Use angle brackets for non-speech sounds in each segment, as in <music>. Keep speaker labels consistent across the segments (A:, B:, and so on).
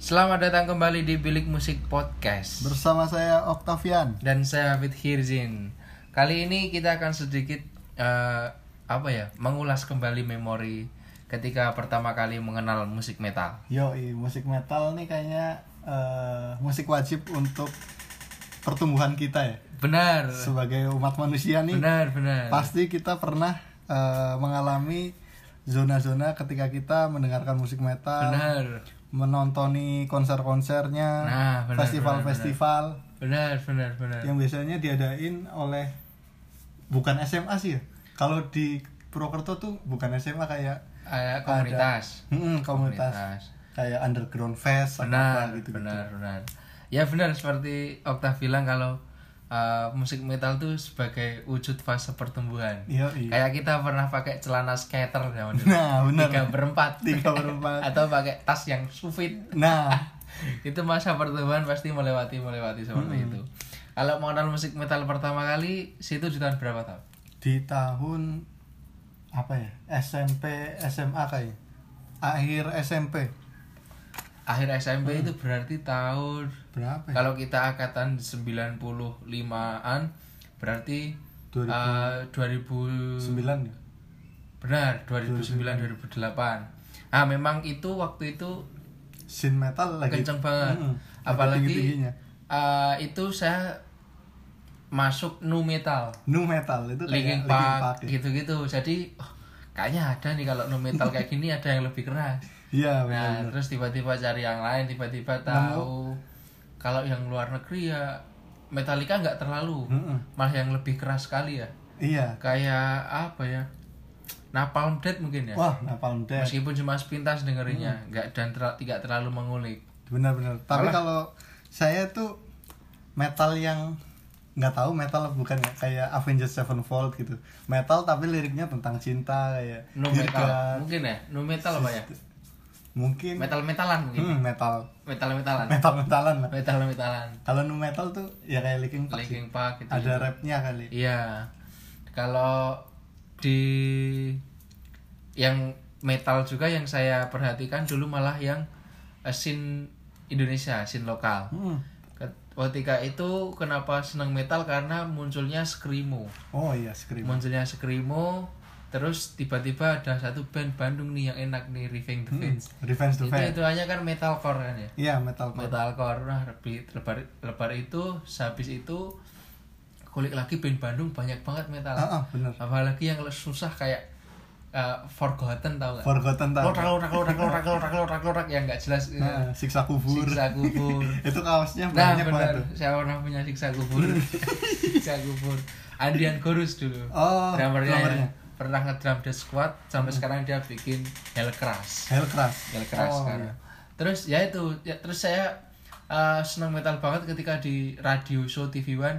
A: Selamat datang kembali di Bilik Musik Podcast
B: Bersama saya Octavian.
A: dan saya Hafid Hirzin. Kali ini kita akan sedikit eh, apa ya mengulas kembali memori ketika pertama kali mengenal musik metal.
B: Yo, musik metal nih kayaknya eh, musik wajib untuk pertumbuhan kita ya.
A: Benar,
B: Sebagai umat manusia nih,
A: benar, benar.
B: pasti kita pernah eh, mengalami zona-zona ketika kita mendengarkan musik metal,
A: Benar,
B: menontoni konser-konsernya,
A: Nah, benar,
B: festival-festival
A: benar, benar, benar.
B: yang biasanya diadain oleh bukan SMA sih ya. Kalau di Purwokerto tuh bukan SMA kayak
A: Eh, komunitas. Nah,
B: Mm-mm, komunitas. kayak underground fest
A: benar
B: apa gitu
A: benar benar ya benar seperti Okta bilang kalau uh, musik metal tuh sebagai wujud fase pertumbuhan
B: iya iya
A: kayak kita pernah pakai celana skater zaman
B: <laughs>
A: dulu
B: nah benar
A: tiga berempat
B: tiga berempat
A: atau pakai tas yang sufit
B: nah
A: itu masa pertumbuhan pasti melewati melewati seperti itu kalau mengenal musik metal pertama kali situ di tahun berapa tahun
B: di tahun apa ya SMP SMA kayaknya akhir SMP
A: akhir SMP itu berarti tahun
B: berapa ya?
A: kalau kita angkatan 95-an berarti uh, 2000
B: 2009 ya?
A: Benar, 2009 2008. Ah, memang itu waktu itu
B: Sin metal lagi
A: kenceng banget.
B: Mm-mm.
A: Apalagi-
B: tinggi-tingginya
A: Ah, itu saya masuk nu metal,
B: nu metal itu kayak
A: Linkin
B: Linkin
A: Park
B: ya.
A: gitu-gitu. Jadi oh, kayaknya ada nih kalau nu metal kayak gini ada yang lebih keras.
B: iya
A: Nah,
B: benar
A: terus tiba-tiba cari yang lain, tiba-tiba tahu kalau yang luar negeri ya Metallica nggak terlalu,
B: Mm-mm.
A: malah yang lebih keras sekali ya.
B: iya
A: Kayak apa ya? Napalm Death mungkin ya.
B: wah Napalm Death
A: meskipun cuma sepintas dengerinnya nggak dan terla- tidak terlalu mengulik
B: benar-benar tapi kalau saya tuh metal yang nggak tahu metal apa bukan ya, kayak Avengers Sevenfold gitu metal tapi liriknya tentang cinta kayak
A: nu
B: Dear
A: metal
B: God.
A: mungkin ya nu metal apa ya
B: mungkin
A: metal metalan mungkin
B: hmm, metal
A: metal metalan
B: metal metalan lah
A: metal metalan
B: kalau nu metal tuh ya kayak Linkin Park sih.
A: Linkin Park gitu
B: ada rapnya kali
A: iya kalau di yang metal juga yang saya perhatikan dulu malah yang eh, scene Indonesia scene lokal
B: Hmm.
A: Ket- ketika itu kenapa senang metal karena munculnya screamo
B: oh iya scream
A: munculnya Screamo terus tiba-tiba ada satu band Bandung nih yang enak nih Revenge the Fans
B: Revenge Hmm, the
A: itu
B: Fans
A: itu hanya kan metalcore kan ya
B: iya metal
A: metalcore nah lebih lebar lebar itu habis itu kulik lagi band Bandung banyak banget metal
B: ah, ah, bener
A: apalagi yang susah kayak eh, Forgotten tau gak
B: Forgotten Time
A: lorak lorak lorak lorak lorak lorak lorak yang nggak jelas eh,
B: Nah, siksa kubur
A: siksa kubur
B: <laughs> itu kaosnya
A: nah
B: banyak banget
A: benar
B: tuh
A: saya pernah punya siksa
B: <laughs>
A: kubur siksa kubur Andian Gorus dulu
B: oh
A: drummernya ya.
B: drummernya Hmm.
A: pernah ngedrum The Squad sampai sekarang dia bikin Hellcrash
B: Hellcrash
A: Hellcrash
B: Oh,
A: sekarang terus ya itu ya, terus saya eh, senang metal banget ketika di radio show TV One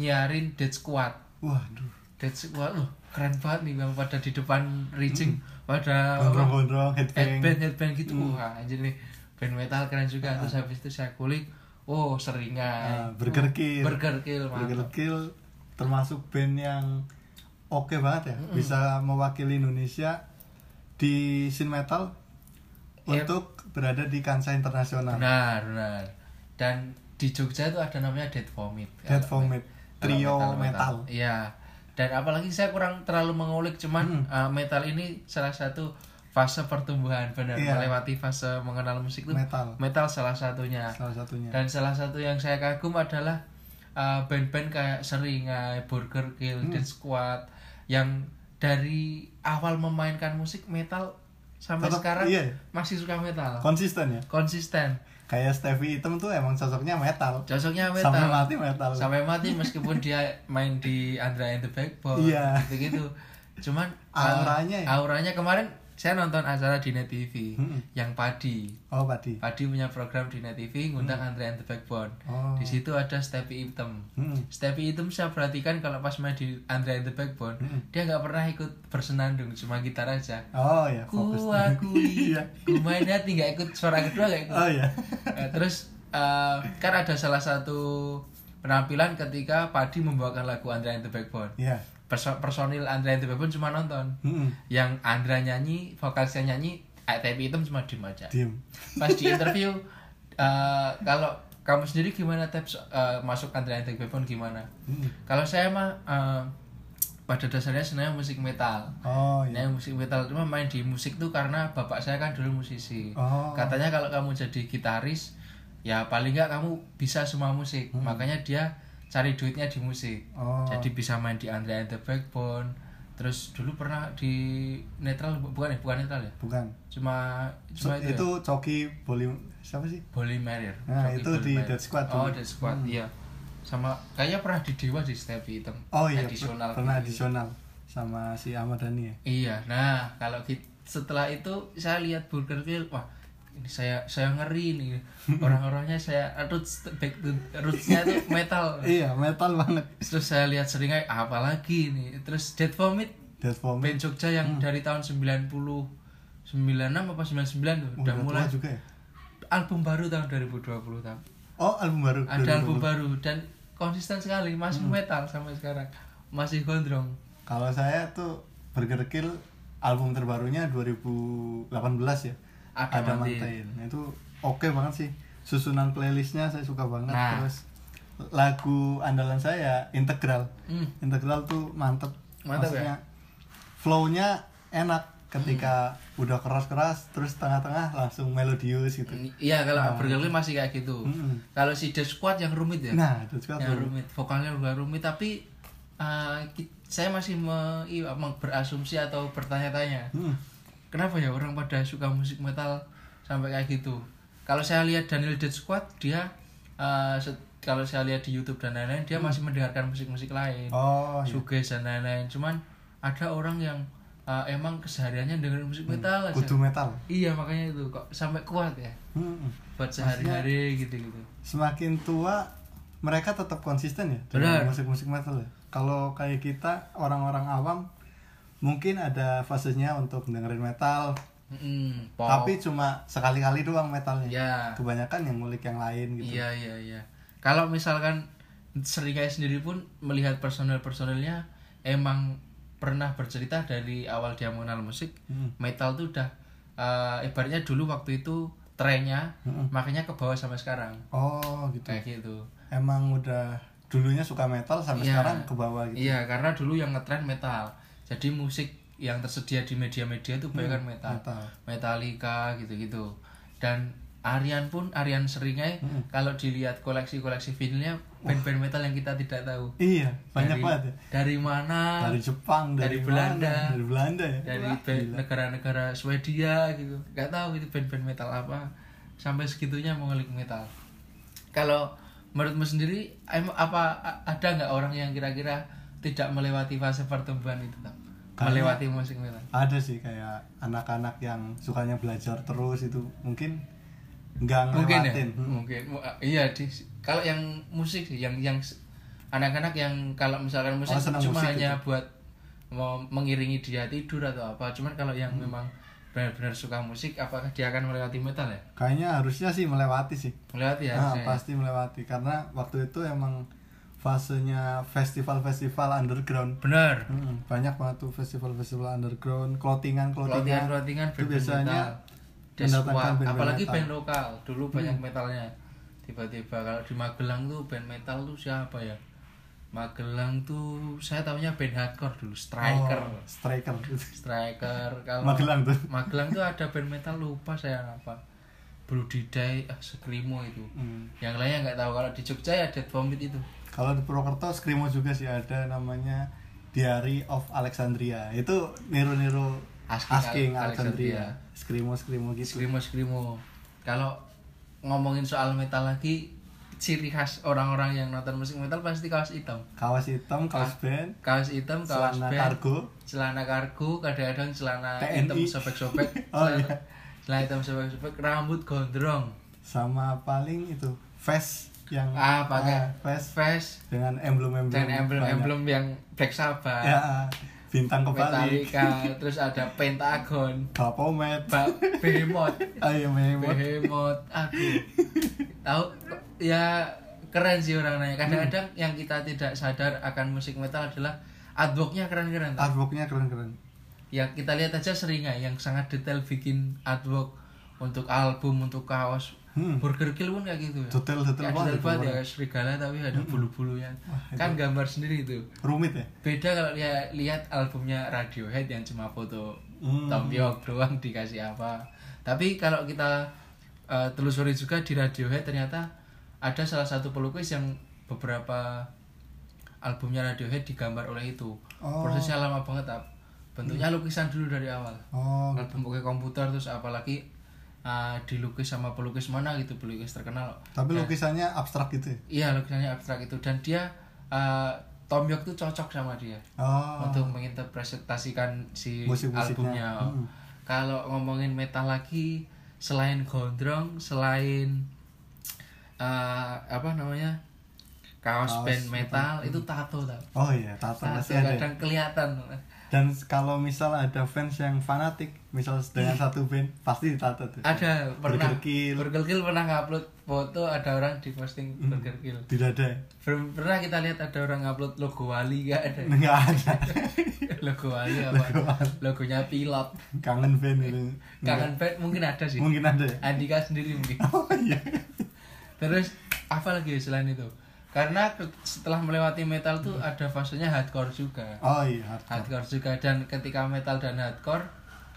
A: nyiarin Dead Squad
B: waduh
A: Dead Squad loh keren banget nih memang pada di depan rigging pada
B: gondrong-gondrong headbang
A: headband headband gitu wah anjir nih band metal keren juga terus habis itu saya kulik oh
B: Ah,
A: seringai
B: Burger Kill
A: Burger Kill
B: Burger
A: mantap
B: Kill termasuk band yang oke banget ya bisa mewakili Indonesia di scene metal
A: Ya.
B: untuk berada di kancah internasional
A: benar benar dan di Jogja itu ada namanya Dead Vomit
B: Dead
A: Kalau-
B: Vomit trio metal
A: Iya. Dan apalagi saya kurang terlalu mengulik
B: Hmm.
A: cuman uh, metal ini salah satu fase pertumbuhan benar
B: Iya.
A: melewati fase mengenal musik itu
B: metal
A: metal salah satunya.
B: salah satunya
A: Dan salah satu yang saya kagum adalah uh, band-band kayak Seringai, Burger Kill,
B: Hmm.
A: Dead Squad yang dari awal memainkan musik metal sampai
B: Tetap-
A: sekarang
B: iya
A: masih suka metal.
B: konsisten ya
A: Konsisten.
B: kayak Stevie Item tuh emang sosoknya metal
A: Cocoknya metal.
B: sampai mati metal
A: sampai mati meskipun dia main di Andra and the Backbone
B: Iya.
A: gitu gitu cuman
B: Auranya ya?
A: uh, auranya kemarin saya nonton acara di Net TV
B: Mm-mm.
A: yang Padi
B: oh padi
A: Padi punya program di Net TV ngundang Andra and the Backbone
B: Mm. oh hmm.
A: di situ ada Stepi Item
B: Mm-mm.
A: Stepi Item saya perhatikan kalau pas main di Andra and the Backbone dia nggak pernah ikut bersenandung cuma gitar aja
B: oh ya
A: ku
B: fokus
A: akui
B: <laughs> Iya.
A: ku main hati nggak ikut suara kedua nggak ikut
B: oh ya <laughs>
A: Eh, terus eh, kan ada salah satu penampilan ketika Padi membawakan lagu Andra and the Backbone.
B: ya hmm.
A: Perso- personil Andra and the Backbone cuma nonton.
B: Mm-mm.
A: Yang Andra nyanyi, vokalisnya nyanyi, ATP itu cuma diem aja.
B: diem
A: Pas di interview Eh, kalau kamu sendiri gimana tips eh, masuk antrean Take Back Bone gimana?
B: Hmm.
A: Kalau saya mah eh, pada dasarnya senangnya musik metal.
B: Oh
A: Nah,
B: iya.
A: musik metal cuma main di musik tuh karena bapak saya kan dulu musisi.
B: Oh.
A: Katanya kalau kamu jadi gitaris, ya paling nggak kamu bisa semua musik. Makanya dia cari duitnya di musik.
B: Hmm. Oh.
A: Jadi bisa main di Andrea and the Backbone. Terus dulu pernah di netral bu- bukan ya, bukan netral ya.
B: Bukan.
A: Cuma
B: So,
A: cuma
B: itu,
A: itu, ya?
B: Coki Boli siapa sih?
A: Bully Marir.
B: Nah,
A: Joki
B: itu
A: Bully
B: di
A: Marir.
B: Dead
A: Oh,
B: Squad dulu. Hmm.
A: Dead Squad, iya. Sama kayaknya pernah di Dewa di Stepi Hitam.
B: Oh iya,
A: Additional
B: pernah
A: gitu.
B: adisional sama si Ahmad Dhani ya.
A: Iya, nah kalau ki- setelah itu saya lihat Burger Kill, wah ini saya saya ngeri
B: <laughs>
A: nih orang-orangnya saya roots back to rootsnya tuh metal.
B: Iya, metal banget.
A: Terus saya lihat seringai apalagi nih. Terus Dead Vomit
B: Dead for Me.
A: band Jogja
B: Hmm.
A: yang dari tahun 90 96 apa 99 tuh,
B: Oh,
A: udah
B: tua
A: mulai
B: juga ya.
A: album baru tahun 2020 tahun.
B: Oh, album baru.
A: Ada album
B: 2020.
A: baru dan konsisten sekali masih
B: Hmm.
A: metal sampai sekarang. Masih gondrong.
B: Kalau saya tuh Burger Kill album terbarunya 2018 ya.
A: Ada
B: Ada
A: Mantin.
B: Mantain. Itu oke banget sih. Susunan playlistnya saya suka banget.
A: Nah.
B: Terus lagu andalan saya Integral.
A: Hmm.
B: Integral tuh mantep.
A: Mantep ya?
B: Flow-nya enak ketika
A: Hmm.
B: udah keras-keras terus tengah-tengah langsung melodius gitu.
A: Iya kalau Burger Kill masih kayak gitu.
B: Mm-mm.
A: Kalau si The Squad yang rumit ya.
B: Nah, itu juga
A: yang
B: tuh.
A: rumit. Vokalnya juga rumit tapi uh, ki- saya masih me- i- meng- berasumsi atau bertanya-tanya.
B: Hmm.
A: Kenapa ya orang pada suka musik metal sampai kayak gitu? Kalau saya lihat Daniel Dead Squad dia uh, set- kalau saya lihat di YouTube dan lain-lain dia masih mendengarkan musik-musik lain.
B: Hmm. Oh, iya.
A: Suges dan lain-lain. Cuman ada orang yang uh, emang kesehariannya dengerin musik metal aja.
B: Hmm. kudu metal.
A: Iya makanya itu kok sampai kuat ya
B: Hmm.
A: buat sehari-hari gitu-gitu.
B: semakin tua mereka tetap konsisten ya
A: Benar.
B: dengan musik-musik metal ya. Kalau kayak kita orang-orang awam mungkin ada fasenya untuk dengerin metal,
A: Mm, pop.
B: tapi cuma sekali-kali doang metalnya.
A: ya,
B: Kebanyakan yang ngulik yang lain gitu.
A: iya iya iya. Kalau misalkan Serigai sendiri pun melihat personel-personelnya emang pernah bercerita dari awal dia mengenal musik
B: Hmm.
A: metal tuh udah eh, ibaratnya dulu waktu itu trennya makanya ke bawah sampai sekarang
B: Oh gitu.
A: kayak gitu.
B: Emang udah dulunya suka metal sampai
A: Iya.
B: sekarang ke bawah gitu.
A: Iya karena dulu yang ngetren metal jadi musik yang tersedia di media-media itu banyak kan metal.
B: Hmm, Metal.
A: Metallica gitu-gitu. Dan Aryan pun Aryan Seringai
B: Hmm.
A: kalau dilihat koleksi-koleksi vinilnya band-band metal yang kita tidak tahu.
B: Iya, banyak
A: Dari-
B: banget ya.
A: Dari mana?
B: Dari Jepang,
A: Dari
B: dari,
A: Belanda.
B: mana, dari Belanda ya.
A: Dari
B: Wah,
A: band-
B: gila.
A: negara-negara Swedia gitu. Gak tahu itu band-band metal apa sampai segitunya mengulik metal. Kalau menurutmu sendiri em- apa a- ada nggak orang yang kira-kira tidak melewati fase pertumbuhan itu Tam? melewati musik metal?
B: ada sih kayak anak-anak yang sukanya belajar terus itu mungkin
A: mungkin
B: nggak
A: ya
B: ngelewatin Hmm.
A: mungkin Mu- ah, iya di kalau yang musik sih yang yang s- anak-anak yang kalau misalkan musik
B: Oh, senang
A: cuma
B: musik
A: hanya buat mau mengiringi dia tidur atau apa cuman kalau yang
B: Hmm.
A: memang benar-benar suka musik apakah dia akan melewati metal ya
B: kayaknya harusnya sih melewati sih
A: melewati ya
B: Ah,
A: saya.
B: pasti melewati karena waktu itu emang fasenya festival-festival underground
A: benar
B: Hmm, banyak banget tuh festival-festival underground clothing-an
A: pelatihan
B: clothing
A: pelatihan
B: itu biasanya mendatangkan
A: Deswa,
B: band-band
A: apalagi
B: metal. Hmm.
A: band lokal dulu banyak metalnya tiba-tiba kalau di Magelang tuh band metal tuh siapa ya Magelang tuh saya tahunya band hardcore dulu striker
B: striker
A: Striker kalau
B: Oh. Magelang tuh
A: Magelang tuh ada band metal lupa saya apa. Brudidai, ah Screamo itu.
B: Hmm.
A: Yang lainnya nggak tahu kalau di Jogja ya Dead Vomit itu.
B: kalau di Purwokerto skrimo juga sih ada namanya Diary of Alexandria itu niru-niru
A: Asking
B: asking,
A: Al-
B: Alexandria skrimo skrimo gitu
A: Screamo Screamo. Kalau ngomongin soal metal lagi ciri khas orang-orang yang nonton musik metal pasti kaos hitam.
B: kawas hitam kawas band
A: Kaos hitam, Ah. kaos
B: celana
A: band,
B: kargo
A: celana kargo, kadang-kadang celana
B: TNI.
A: hitam sobek-sobek.
B: <laughs> Oh,
A: celana-
B: iya.
A: Celana hitam sobek-sobek, rambut gondrong.
B: sama paling itu vest yang
A: Ah, pakai
B: vest
A: vest
B: dengan emblem-emblem
A: dan
B: Hmm, banyak.
A: emblem-emblem yang Black Sabbath.
B: ya bintang kebalik
A: Metallica, terus ada Pentagon,
B: bapomet <laughs>
A: Ba- Behemoth,
B: ayo memot
A: Behemoth, aduh, tahu ya keren sih orang nanya. Kadang-kadang yang kita tidak sadar akan musik metal adalah artworknya keren-keren. tau.
B: artworknya keren-keren
A: Ya kita lihat aja seringai yang sangat detail bikin artwork untuk album, untuk kaos,
B: Hmm.
A: Burger Kill pun kayak gitu ya.
B: Detail detail
A: Kayak
B: banget.
A: detail banget ya
B: itu, Bang. Hmm.
A: kayak serigala tapi ada bulu-bulunya.
B: itu-
A: Kan gambar sendiri itu.
B: Rumit ya.
A: Beda kalau dia lihat albumnya Radiohead yang cuma foto
B: Hmm.
A: Tom York doang dikasih apa. Tapi kalau kita eh, telusuri juga di Radiohead ternyata ada salah satu pelukis yang beberapa albumnya Radiohead digambar oleh itu.
B: Oh. Hmm.
A: Prosesnya lama banget, Ab. Bentuknya lukisan dulu dari awal.
B: Oh,
A: Album pakai komputer terus apalagi eh, dilukis sama pelukis mana gitu, pelukis terkenal.
B: tapi lukisannya abstrak gitu ya.
A: Iya, lukisannya abstrak itu dan dia eh, Tom York tuh cocok sama dia
B: Oh.
A: untuk menginterpretasikan si
B: Musik-musiknya.
A: albumnya.
B: Hmm.
A: Kalau ngomongin metal lagi, selain gondrong, selain eh, apa namanya kaos,
B: Kaos
A: band metal, itu tato tau.
B: Oh iya, tato
A: Tato
B: pasti ada. ya.
A: kadang kelihatan.
B: Dan kalau misal ada fans yang fanatik, misal dengan satu band, pasti ditato tuh.
A: Ada pernah
B: Burger Kill.
A: Burger Kill pernah upload foto ada orang di posting
B: Hmm.
A: Burger Kill.
B: Di dada. ya?
A: Per- Pernah kita lihat ada orang upload logo Wali gak
B: <laughs>
A: ada.
B: Nggak ada.
A: logo Wali apa?
B: Logo Wali.
A: Logonya pilot.
B: Kangen band itu.
A: Kangen band mungkin ada sih.
B: Mungkin ada ya.
A: Andika sendiri mungkin.
B: Oh iya.
A: Terus apa lagi ya selain itu? Karena ke- setelah melewati metal tuh
B: Hmm.
A: ada fasenya hardcore juga.
B: Oh iya, hardcore.
A: Hardcore juga dan ketika metal dan hardcore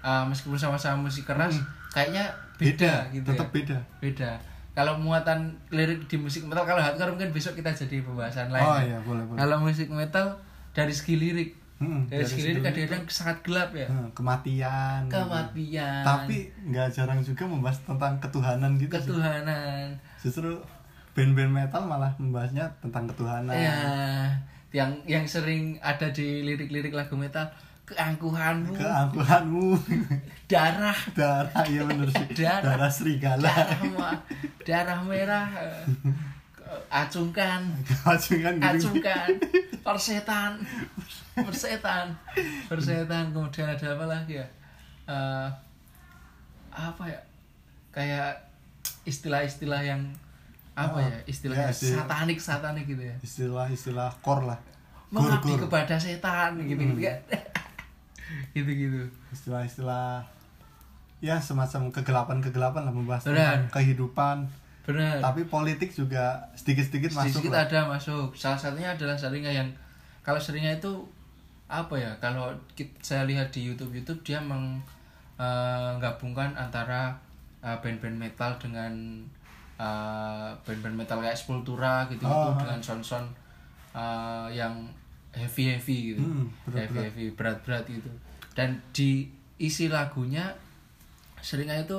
A: uh, meskipun sama-sama musik keras kayaknya beda, gitu ya.
B: Tetap Hmm. beda.
A: Beda. Kalau muatan lirik di musik metal kalau hardcore mungkin besok kita jadi pembahasan lain.
B: Oh
A: ya.
B: iya, boleh boleh.
A: Kalau musik metal dari segi lirik
B: Hmm,
A: dari,
B: dari
A: segi
B: segi
A: lirik kadang-kadang sangat gelap ya.
B: Hmm, kematian. gitu.
A: Kematian.
B: Tapi nggak jarang juga membahas tentang ketuhanan gitu. sih.
A: ketuhanan.
B: Justru band-band metal malah membahasnya tentang ketuhanan.
A: Ya, yang yang sering ada di lirik-lirik lagu metal keangkuhanmu,
B: Keangkuhanmu. <laughs>
A: darah,
B: darah iya bener sih.
A: Darah.
B: Darah serigala.
A: darah, ma- darah merah, eh, ke- acungkan,
B: Acungan gitu.
A: acungkan, persetan, persetan, persetan. Kemudian ada apa lagi ya? Eh, apa ya? Kayak istilah-istilah yang apa
B: Oh,
A: ya? Istilahnya
B: ya, sih.
A: satanik, satanik gitu ya.
B: Istilah-istilah core lah. Gur
A: mengabdi
B: gur.
A: kepada setan gitu gitu <laughs> kan gitu gitu
B: Istilah-istilah ya semacam kegelapan-kegelapan lah membahas
A: Benar.
B: tentang kehidupan.
A: benar
B: Tapi politik juga sedikit-sedikit masuk
A: sedikit
B: lah.
A: ada masuk salah satunya adalah seringnya yang kalau seringnya itu apa ya kalau kit- saya lihat di YouTube YouTube dia eh, menggabungkan antara eh, band-band metal dengan eh, band-band metal kayak Sepultura gitu gitu
B: Oh,
A: dengan sound-sound eh, yang heavy heavy gitu
B: Hmm, berat-berat.
A: heavy heavy berat-berat gitu dan diisi lagunya seringnya itu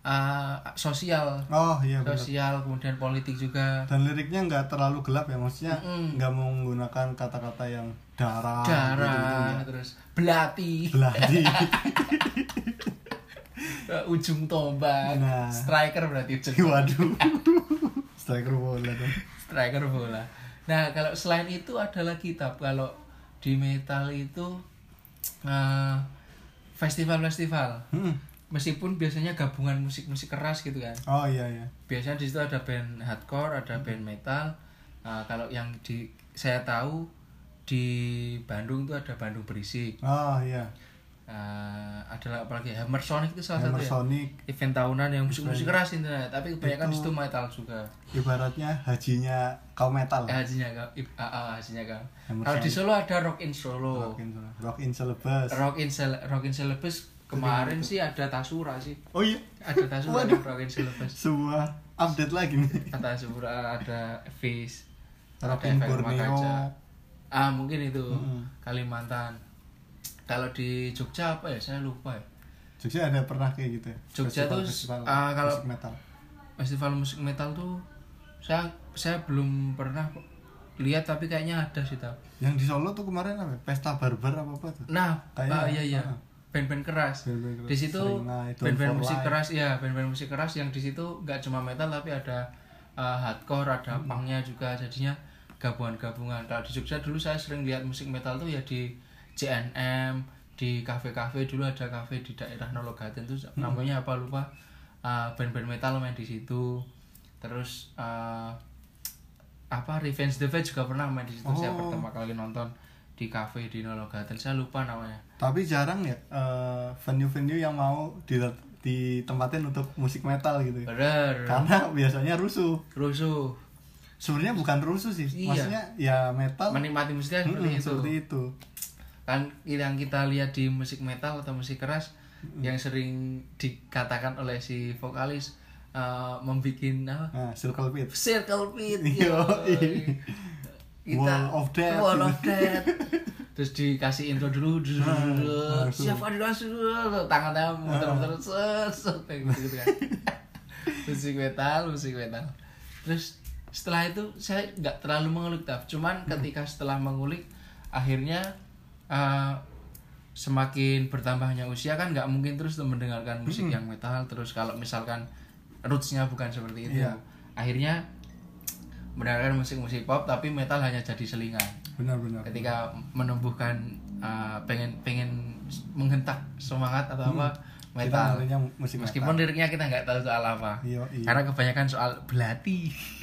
A: eh, sosial
B: Oh iya benar.
A: sosial kemudian politik juga
B: Dan liriknya nggak terlalu gelap ya maksudnya
A: Mm-mm.
B: nggak mau menggunakan kata-kata yang darah, iya, gitu.
A: darah terus belati <laughs>
B: gitu-gitu, nggak. belati.
A: eh, ujung tombak
B: Nah. Iya.
A: striker berarti ujung
B: <laughs> Waduh. Striker bola dong.
A: striker bola nah kalau selain itu adalah kitab kalau di metal itu eh, festival-festival
B: Hmm.
A: meskipun biasanya gabungan musik-musik keras gitu kan
B: Oh iya iya.
A: biasanya di situ ada band hardcore
B: Hmm.
A: ada band metal Nah, kalau yang di saya tahu di Bandung tuh ada Bandung berisik
B: Oh iya.
A: Eh, adalah apalagi Hammer Sonic itu salah satu
B: Hammer
A: ya
B: Sonic
A: event tahunan yang musik-musik keras intinya tapi kebanyakan
B: ya. Itu-
A: itu metal juga
B: ibaratnya hajinya kaum metal.
A: eh, hajinya kau Ib- ah, ah, hajinya kau
B: Hammer
A: kalau di
B: Sonic.
A: Solo ada Rock in Solo
B: Rock in, rock in syllabus.
A: Rock in Sel- Rock in Syllabus kemarin sih ada Tasura sih
B: Oh iya,
A: ada Tasura
B: Waduh.
A: kan Rock in Syllabus
B: semua update lagi nih.
A: ada Tasura ada Face ada
B: Rock in
A: Efek Rumah
B: Borneo.
A: Kaca. ah mungkin itu
B: Mm-mm.
A: Kalimantan kalau di Jogja apa ya saya lupa ya
B: Jogja ada pernah kayak gitu. ya?
A: Jogja tuh,
B: Festival-festival
A: ah, kalau-
B: musik metal.
A: festival musik metal tuh saya saya belum pernah lihat tapi kayaknya ada sih tau
B: Yang di Solo tuh kemarin apa? ya? Pesta barbar apa apa tuh?
A: Nah,
B: Kayaknya,
A: ah, iya iya.
B: ah.
A: Band-band keras.
B: Band-band keras.
A: Di situ
B: Seringai, Don't
A: band-band
B: For
A: musik
B: Life.
A: keras ya, band-band musik keras yang di situ nggak cuma metal tapi ada uh, hardcore, ada
B: Hmm.
A: punknya juga jadinya gabungan-gabungan. Kalau di Jogja dulu saya sering lihat musik metal tuh ya di JNM, di kafe-kafe dulu ada kafe di daerah Nologaten tuh
B: Hmm.
A: namanya apa lupa. Uh, band-band metal main di situ. Terus uh, apa Revenge the Fate juga pernah main di situ saya
B: Oh.
A: pertama kali nonton di kafe di Nologaten saya lupa namanya
B: Tapi jarang ya eh, venue-venue yang mau dida- ditempatin untuk musik metal gitu ya.
A: bener
B: karena biasanya rusuh
A: rusuh
B: sebenarnya bukan rusuh sih
A: Iya.
B: maksudnya ya metal
A: menikmati musiknya
B: mm-mm,
A: seperti itu
B: Hmm, seperti itu
A: kan yang kita lihat di musik metal atau musik keras
B: Hmm.
A: yang sering dikatakan oleh si vokalis eh, membikin apa
B: nah circle pit
A: circle pit
B: Iya,
A: yoi.
B: Wall of Death.
A: wall of death terus dikasih intro dulu dulu, dulu,
B: Nah,
A: dulu.
B: langsung.
A: siapa di langsung tangan tangan muter-muter set, set, kayak gitu, gitu kan musik metal musik metal terus setelah itu saya nggak terlalu mengulik taf cuman ketika setelah mengulik akhirnya eh, semakin bertambahnya usia kan nggak mungkin terus mendengarkan musik yang metal terus kalau misalkan rootsnya bukan seperti itu
B: Iya.
A: akhirnya mendengarkan musik-musik pop tapi metal hanya jadi selingan
B: benar-benar
A: ketika menumbuhkan uh, pengen pengen menghentak semangat atau apa
B: Hmm. kita
A: metal
B: ngerinya musik metal
A: meskipun liriknya kita nggak tahu soal apa
B: Iya, iya.
A: karena kebanyakan soal belati